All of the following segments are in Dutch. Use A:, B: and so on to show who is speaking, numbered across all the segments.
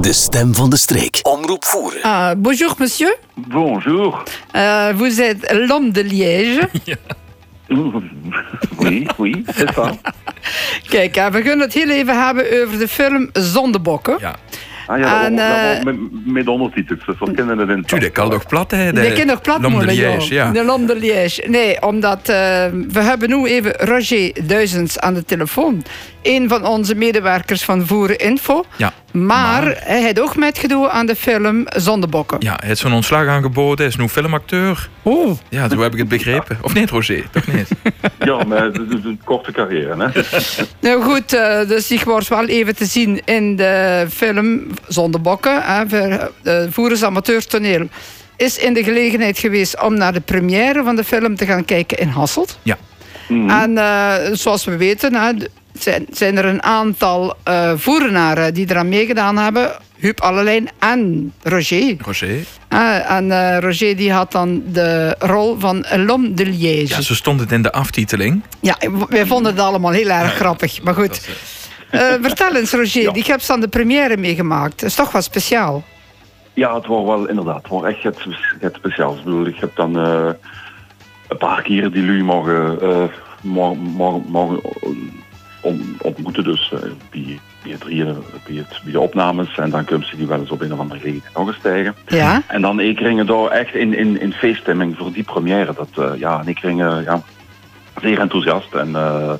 A: De stem van de streek. Omroep voeren.
B: Ah, bonjour monsieur,
C: Bonjour.
B: Euh, vous êtes l'homme de Liège.
C: Oui, oui, c'est ça.
B: Kijk, eh, we kunnen het heel even hebben over de film Zondebokken.
D: Ja,
C: Ah ja,
B: En,
C: dat- dat-
B: eh,
C: met, met ondertitels, dus we kennen het in
D: tuurlijk, dat kan toch plat, hè?
B: De kinderplatmolen,
D: Liège, ja.
B: De Lam de Liège. Nee, omdat eh, we hebben nu even Roger Duizends aan de telefoon. Een van onze medewerkers van Voeren Info.
D: Ja,
B: Maar, hij heeft ook metgedaan aan de film Zondebokken.
D: ja, hij heeft zo'n ontslag aangeboden, hij is nu filmacteur.
B: Oh.
D: Ja, zo heb ik het begrepen. Of nee, Roger, toch niet?
C: Ja, maar het is een korte carrière, hè.
B: Nou goed, eh, dus ik word wel even te zien in de film Zondebokken. Hè, voor, eh, Voerens Amateur Toneel. Is in de gelegenheid geweest om naar de première van de film te gaan kijken in Hasselt.
D: Ja,
B: En eh, zoals we weten, hè, d- zijn, zijn er een aantal eh voerenaren die eraan meegedaan hebben. Huub Allerlijn en Roger.
D: Roger.
B: Eh, en eh, Roger die had dan de rol van L'homme de Liège.
D: Ja, zo stond het in de aftiteling.
B: Ja, w- wij vonden het allemaal heel erg grappig. Maar goed, Eh, vertel eens Roger,
C: Ja.
B: die heb ze aan de première meegemaakt. Dat is toch wel speciaal.
C: Ja, het wordt wel inderdaad. Het wordt echt het, het speciaals. Ik bedoel, ik heb dan eh, een paar keer die lui mogen, eh, mo- mo- mogen on- ontmoeten. Dus eh, bij, bij, het, hier, bij, het, bij de opnames. En dan kunnen ze die wel eens op een of andere gelegenheid nog eens stijgen.
B: Ja?
C: En dan ik ringen door echt in, in, in feeststemming voor die première. Dat, eh, ja, en ik ringen ja, zeer enthousiast. En, eh,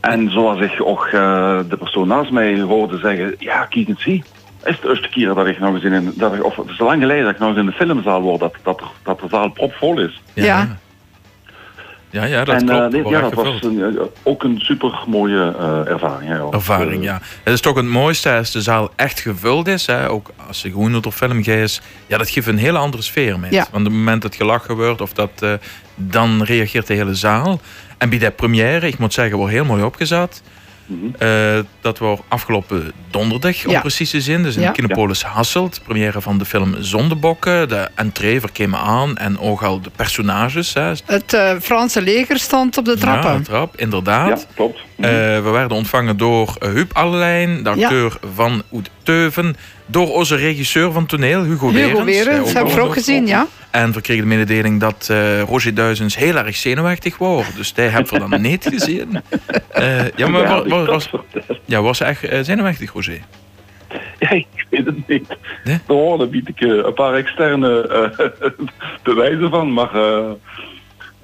C: en zoals ik ook eh, de persoon naast mij hoorde zeggen, ja, kijk eens zie. Is het de eerste keer dat ik nog eens in een, dat ik, of het is lang geleden dat ik nog eens in de filmzaal word, dat, dat, er- dat de zaal propvol is.
B: Ja.
D: Ja, ja, dat
C: en eh,
D: klopt.
C: dit-
D: Wordt
C: ja,
D: echt
C: dat was
D: gevuld.
C: een, eh, ook een super mooie ervaring. Hè, Of,
D: ervaring,
C: eh,
D: ja. Het is toch het mooiste als de zaal echt gevuld is. Hè? Ook als ze gewoon door film is. Ja, dat geeft een hele andere sfeer mee.
B: Ja.
D: Want op het moment dat gelachen wordt, of dat, eh, dan reageert de hele zaal. En bij de première, ik moet zeggen, wordt heel mooi opgezet. Eh, dat wordt afgelopen donderdag, om
B: Mhm. Ja.
D: precies te zijn. Dus in
B: Ja.
D: de Kinopolis Hasselt. Première van de film Zondebokken. De entree verkeerde aan. En ook al de personages. Hè.
B: Het eh, Franse leger stond op de trappen.
D: Ja, trap, inderdaad.
C: ja, klopt.
D: Eh, we werden ontvangen door eh, Huub Allerlijn, de
B: Mhm. Ja.
D: acteur van Oet Teuven. Door onze regisseur van toneel, Hugo Werens.
B: Hugo
D: eh,
B: Werens,
D: ook
B: hebben we
D: wel
B: ook gezien, ja?
D: En we kregen de mededeling dat eh, Roger Duizens heel erg zenuwachtig was. Dus die hebben we dan niet gezien. Eh, ja, maar wa-
B: dus
D: wa- was, ja, was hij echt eh, zenuwachtig, Roger?
C: Ja, ik weet het niet.
D: Nee?
C: Daar horen bied ik eh, een paar externe eh, bewijzen van, maar eh,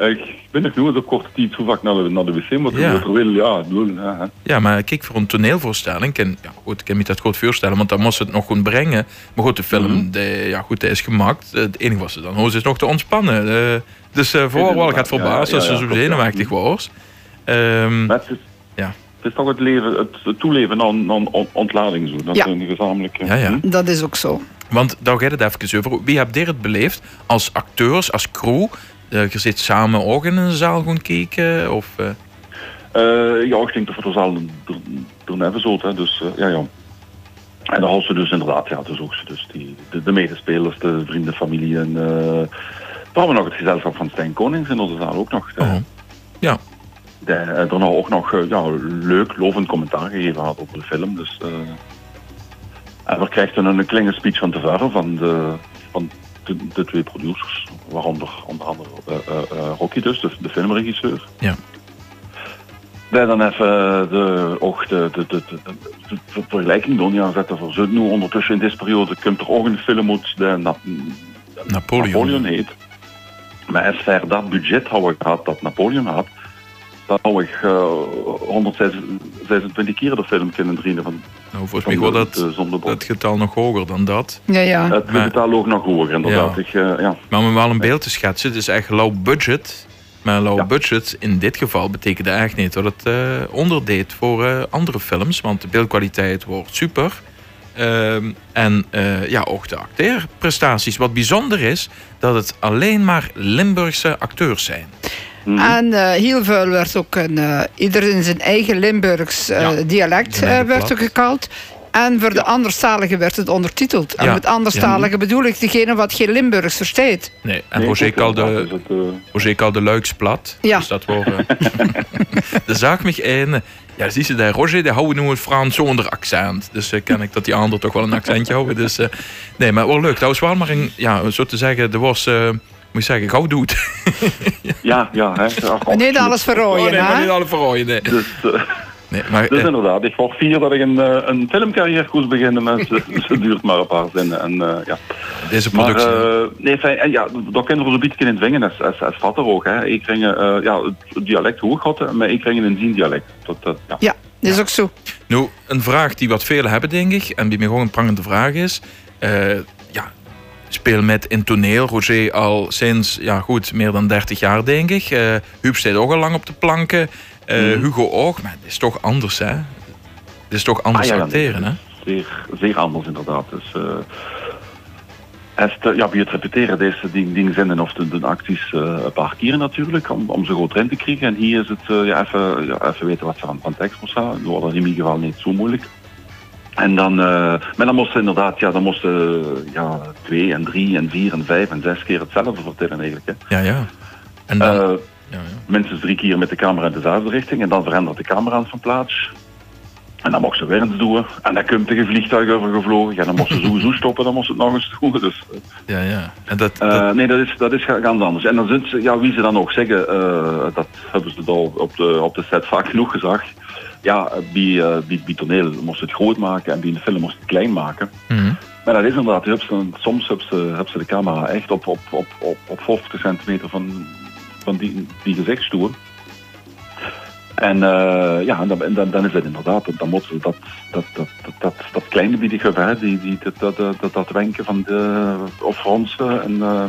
C: ik ben nog nooit op korte tijd zo vaak naar de, naar de wc moet.
D: Ja.
C: Ja. wil, ja, doen. ja, hè.
D: Ja, maar kijk, voor een toneelvoorstelling, kan, ja, goed, ik kan me dat goed voorstellen, want dan moest ze het nog goed brengen. Maar goed, de film,
C: Mhm.
D: de, ja, goed, die is gemaakt. Eh, Het enige was ze dan hoorde is nog te ontspannen. Eh, dus eh voor wel gaat
C: inderdaad.
D: verbaasd
C: Ja, ja,
D: als ze
C: ja,
D: zo
C: klopt, ja. Mhm.
D: zenuwachtig was. Ehm,
C: Maar het is,
D: Ja.
C: het is toch het leven, het, het toeleven aan, aan on- ontlading zo. Dat
B: Ja.
C: is een gezamenlijke...
D: Ja, ja.
B: Dat is ook zo.
D: want daar gaat het even over. Wie hebt dit het beleefd als acteurs, als crew? Eh, je zit samen ook in een zaal gaan kijken? Of, eh,
C: Eh, ja, ik denk dat we er zal er- er net is zult, hè, dus eh, ja, ja. En dan had ze dus inderdaad, ja, dus ook ze dus die, de, de medespelers, de vrienden, familie en... eh we hebben nog het gezelschap van Stijn Konings in onze zaal ook nog. eh,
D: oh. Ja,
C: die eh, daarna ook nog eh, ja, leuk lovend commentaar gegeven had op de film. Dus, eh, en we krijgen een kleine speech van tevoren van de, van de, de twee producers, waaronder onder andere eh, eh, eh, Rocky dus, de, de filmregisseur.
D: Ja.
C: Wij dan even eh, de, ook de, de, de, de, de- de vergelijking doen. Ja, zetten voor zo nu ondertussen in deze periode komt er ook een film uit, de Na-
D: Napoleon.
C: heet. Maar als ver dat budget had ik gehad dat Napoleon had, dan had ik eh, 126 keer de film kunnen drieën van
D: Nou, volgens mij wordt dat,
C: de Zondebok.
D: dat getal nog hoger dan dat.
B: Ja, ja.
C: Het
D: Maar-
C: getal ook nog hoger, inderdaad.
D: Ja.
C: Ik, eh, ja.
D: Maar om wel een beeld te schetsen, het is echt low budget. Maar low
C: Ja.
D: budget in dit geval betekende echt niet dat het eh, onderdeed voor eh, andere films. Want de beeldkwaliteit wordt super. Ehm, en eh, ja, ook de acteerprestaties. Wat bijzonder is, dat het alleen maar Limburgse acteurs zijn. Ehm.
C: Mhm.
B: En eh, heel veel werd ook een, eh, ieder in zijn eigen Limburgs eh,
D: Ja,
B: dialect
D: zijn
B: eh,
D: eigen
B: werd
D: plat.
B: er gekald. En voor de anderstaligen werd het ondertiteld. En
D: Ja,
B: met anderstaligen bedoel ik degene wat geen Limburgs versteed.
D: Nee, en
C: Nee,
D: Roger
C: goed, inderdaad,
D: Calde,
C: is het, eh,
D: Roger Calde Luiks plat.
B: Ja.
D: Dus dat worden. de eh, zaak mich een. Ja, zie je daar, Roger, die houden nu een Frans zonder accent. Dus eh, ken ik dat die ander toch wel een accentje houden. Dus, eh, nee, maar wel leuk. Dat was wel maar een, ja, zo te zeggen, er was, eh, moet je zeggen, gauw doet.
C: Ja, ja. Hè. Ach,
B: niet alles verrooien,
D: nee, maar
B: hè?
D: niet alle verrooien, nee.
C: Dus, eh,
D: nee maar,
C: dus
D: eh,
C: inderdaad, ik word vier dat ik een, eh, een filmcarrière koest beginnen. Maar ze, ze duurt maar een paar zinnen. En, eh, ja.
D: deze
C: Maar
D: productie.
C: eh, nee, fijn, en ja, dat kunnen we zo'n beetje in dwingen. als als als vader ook. Hè. Ik kring, eh, ja, het dialect hoog had, maar ik kring een zien dialect. Dat, eh, ja.
B: Ja, dat is ook zo.
D: Nou, een vraag die wat velen hebben, denk ik, en die me gewoon een prangende vraag is. eh, ja, speel met in toneel. Roger al sinds, ja goed, meer dan 30 jaar, denk ik. Eh Huub staat ook al lang op de planken. Eh,
C: Mhm.
D: Hugo ook, maar het is toch anders, hè? Het is toch anders
C: Ah, ja, ja.
D: acteren, hè?
C: Zeer, zeer anders inderdaad. Dus, eh als het, eh, ja, bij het repeteren deze ding, ding eh, zenden of de, de acties eh, een paar keer natuurlijk, om, om ze goed erin te krijgen. En hier is het eh, ja, even, ja, even weten wat ze aan van tekst moest staan. Dat was in ieder geval niet zo moeilijk. En dan, eh, maar dan moesten inderdaad, ja, dan moesten eh, ja, twee en drie en vier en vijf en zes keer hetzelfde vertellen eigenlijk. Hè.
D: Ja, ja. En dan,
C: Eh,
D: ja, ja.
C: minstens drie keer met de camera in dezelfde richting. En dan verandert de camera van plaats. En dan mocht ze weer eens doen. En dan komt er een vliegtuig over gevlogen. En dan mocht ze sowieso stoppen, dan moest ze het nog eens doen. Dus,
D: ja, ja. En dat,
C: eh,
D: dat-
C: nee, dat is, dat is ga- ganz anders. En dan zijn ze, ja, wie ze dan ook zeggen, eh, dat hebben ze al op de, op de set vaak genoeg gezegd. Ja, bij, eh, bij, bij toneel moest ze het groot maken en bij een film moest ze het klein maken.
D: mhm.
C: Maar dat is inderdaad, je hebt ze- soms hebben ze, hebben ze de camera echt op, op, op, op, op 50 centimeter van, van die, die gezichtstoer. En eh, ja, en dan, en dan, dan is het inderdaad, dan- dan moeten ze dat, dat, dat, dat, dat, dat kleine bieden hebben, hè, die, die, dat, dat, dat, dat, dat wenken van de, of fronsen en eh,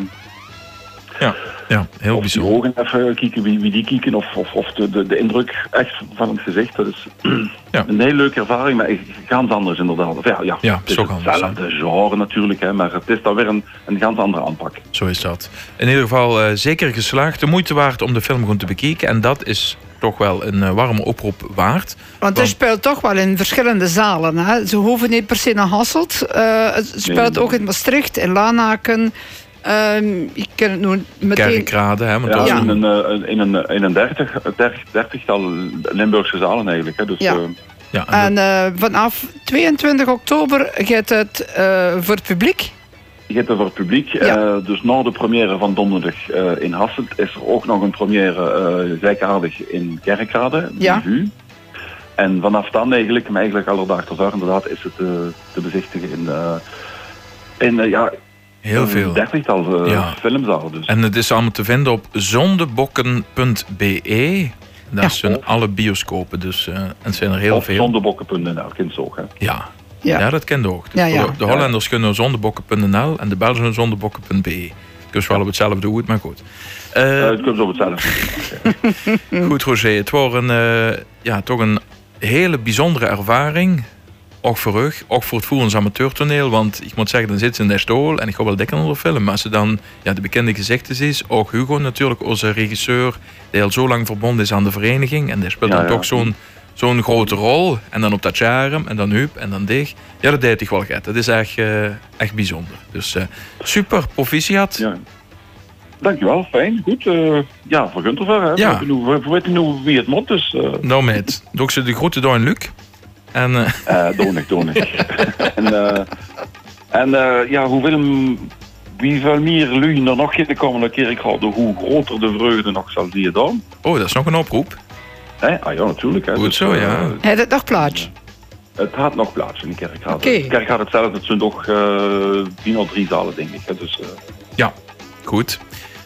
D: ja, ja, heel
C: of die
D: bijzonder.
C: ogen even kijken, wie, wie die kijken, of, of, of de, de, de indruk echt van het gezicht. Dat is
D: Ja.
C: een hele leuke ervaring, maar echt ganz anders inderdaad. Of ja, ja,
D: Ja,
C: het is
D: zo kan het zijn.
C: hetzelfde genre natuurlijk, hè, maar het is dan weer een, een ganz andere aanpak.
D: Zo is dat. In ieder geval eh, zeker geslaagd. De moeite waard om de film gewoon te bekijken. En dat is toch wel een eh, warme oproep waard.
B: Want het
D: Want-
B: speelt toch wel in verschillende zalen. Hè? Ze hoeven niet per se naar Hasselt. Eh, het speelt
C: nee.
B: ook in Maastricht, in Lanaken. Ehm ik ken het nu meteen.
D: Kerkraden, hè? Want
C: Ja,
D: dat is
B: Ja.
D: een-
C: In, een, eh, in een, in een dertig, dertig, dertigtal Limburgse zalen eigenlijk. Hè, dus,
B: Ja.
C: eh,
D: Ja,
B: En
D: en
B: eh, vanaf 22 oktober gaat het eh, voor het publiek.
C: Je hebt er voor het publiek.
B: Ja.
C: eh, dus na de première van donderdag eh, in Hasselt is er ook nog een première eh gelijkaardig in Kerkrade,
B: Ja.
C: in VU. En vanaf dan eigenlijk, maar eigenlijk alle dagen tot daar inderdaad, is het eh, te bezichtigen in, eh in eh, ja,
D: heel veel.
C: een dertigtal eh,
D: Ja.
C: filmzalen. Dus.
D: En het is allemaal te vinden op zondebokken.be. E. Daar
B: Ja.
D: zijn alle bioscopen, dus eh, en het zijn er heel
C: of
D: veel.
C: zondebokken.nl, kind zo. Hè.
D: Ja. Ja.
B: Ja.
D: dat kent ook. Dus
B: Ja, ja.
D: de- De Hollanders kunnen zondebokken.nl en de Belgen zondebokken.be. Dus wel op hetzelfde hoe het, maar goed. Eh,
C: Eh, het komt zo op hetzelfde.
D: Goed, Roger. Het was een, eh, ja, toch een hele bijzondere ervaring. Ook voor u, ook voor het Voerens Amateurtoneel. Want ik moet zeggen, dan zit ze in de stoel en ik ga wel dikker onder de film. Maar als ze dan ja, de bekende gezichten is, ook Hugo natuurlijk, onze regisseur, die al zo lang verbonden is aan de vereniging. En die speelt
C: Ja,
D: dan
C: ja.
D: toch zo'n zo'n grote rol. En dan op dat charm, en dan Huub, en dan Dig. Ja, dat deed ik wel gek. Dat is echt, eh, echt bijzonder. Dus eh, super, proficiat.
C: Ja. Dankjewel, fijn, goed. eh, ja, voor Gunther ver. Hè.
D: Ja.
C: We, weten nu- we weten nu wie het moet, dus eh
D: Nou, meid, doe ze de groeten door aan Luc. En eh,
C: Eh, donig, donig. en eh, en eh, ja, hoeveel, m- wie veel meer lui er nog in de komende keer ik houden, hoe groter de vreugde nog zal die dan.
D: oh, dat is nog een oproep.
C: Hè? Ah ja, natuurlijk. Hè.
D: Goed zo,
C: eh,
D: ja.
B: Hij had nog plaats.
C: het had nog plaats in de kerk. Had,
B: Oké.
C: De kerk had het zelf, het zijn toch eh tien of drie zalen, denk ik. Hè. Dus, eh,
D: Ja, goed.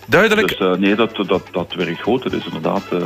D: Duidelijk.
C: dus eh, nee, dat, dat, dat werkt goed. Het is inderdaad... eh,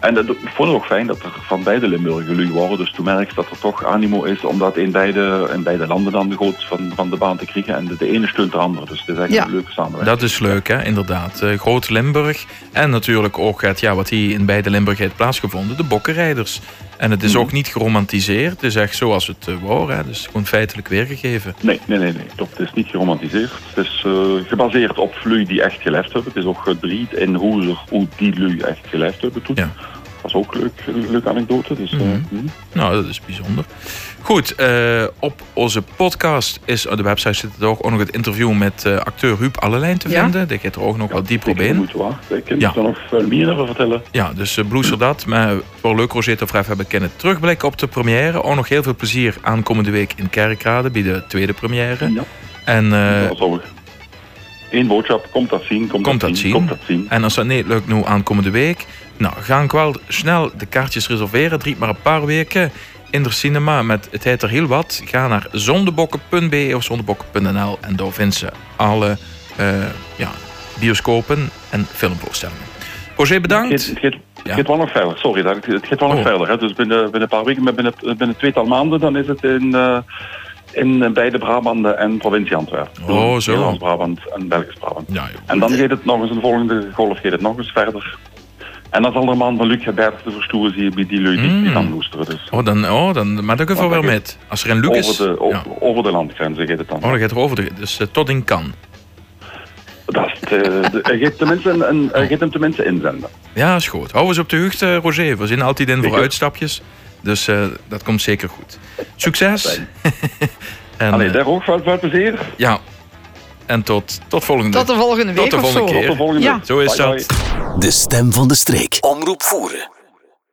C: en dat, ik vond het ook fijn dat er van beide Limburgen lui waren. Dus toen merk ik dat er toch animo is om dat in beide, in beide landen dan de goot van, van de baan te krijgen. En de, de ene steunt de andere. Dus het is eigenlijk
B: Ja.
C: een leuke samenwerking.
D: dat is leuk, hè? inderdaad. Eh, Groot Limburg. En natuurlijk ook het, ja, wat hier in beide Limburg heeft plaatsgevonden, de bokkenrijders. En het is ook niet geromantiseerd. Het is echt zoals het eh, wou. Hè? Dus gewoon feitelijk weergegeven.
C: Nee, nee, nee, nee. Klopt. Het is niet geromantiseerd. Het is eh, gebaseerd op lui die echt geleefd hebben. Het is ook gedriet in hoe, ze, hoe die lui echt geleefd hebben toen.
D: Ja.
C: Dat was ook een leuk, een leuke anekdote. Dus, eh,
D: Mhm.
C: mhm.
D: Nou, dat is bijzonder. Goed, eh, op onze podcast is, op de website zit het ook, ook nog het interview met eh, acteur Huub Allelijn te
B: Ja.
D: vinden. Daar gaat er ook nog wat dieper
C: Ik
D: op
C: vind
D: in.
C: het moeite waard. Ik kan
D: Ja.
C: er nog veel meer over vertellen.
D: Ja, dus eh, bloes er dat. Maar voor leuk Rosetta Vraag hebben kennen terugblikken op de première. Ook nog heel veel plezier aankomende week in Kerkrade bij de tweede première.
C: Ja.
D: En, eh,
C: Dat is al Eén boodschap, komt dat zien, komt,
D: Komt
C: dat,
D: dat
C: zien,
D: zien.
C: komt dat zien.
D: en als dat niet lukt, nu aankomende week. Nou, ga ik wel snel de kaartjes reserveren. Het duurt maar een paar weken in de cinema met Het heet er heel wat. Ga naar zondebokken.be E of zondebokken.nl en daar vindt ze alle eh, ja, bioscopen en filmvoorstellingen. Roger,
C: Het,
D: bedankt.
C: het, het,
D: Ja.
C: gaat wel nog verder, sorry. dat ik- Het gaat wel nog
D: Oh.
C: verder. Hè. Dus binnen, binnen een paar weken, maar binnen, binnen een tweetal maanden, dan is het in, eh, in eh, beide Brabanden en provincie Antwerpen.
D: Oh,
C: Dus
D: zo.
C: Nederlands Brabant en Belgisch Brabant.
D: Ja, joh.
C: En dan gaat het nog eens een volgende golf gaat het nog eens verder. En dan zal de man van Luc Gebert te verstoeren zien bij die lui die, die
D: Mm.
C: gaan loesteren. Dus
D: Oh, dan, oh, dan maak ik er wel weer met. Als er een Lucas.
C: over, de,
D: ja.
C: o- over de landgrenzen gaat het dan.
D: Oh, dan gaat er over de. Dus eh, tot in kan.
C: Dat is de, de, hij gaat tenminste een, een, hij gaat hem tenminste inzenden.
D: Ja, is goed. Hou eens op de hoogte, Roger. We zijn altijd in voor
C: Zeker.
D: uitstapjes. Dus eh, dat komt zeker goed. Succes.
C: Fijn.
D: en,
C: Allee,
D: eh,
C: daar ook veel, veel plezier.
D: ja. En tot, tot volgende
B: Tot de volgende week
D: Tot de
B: of
D: volgende
B: zo.
D: keer.
C: Tot de volgende
B: Ja.
C: week.
D: Zo is
C: Bye,
D: dat.
C: bye.
A: De stem van de streek. Omroep voeren.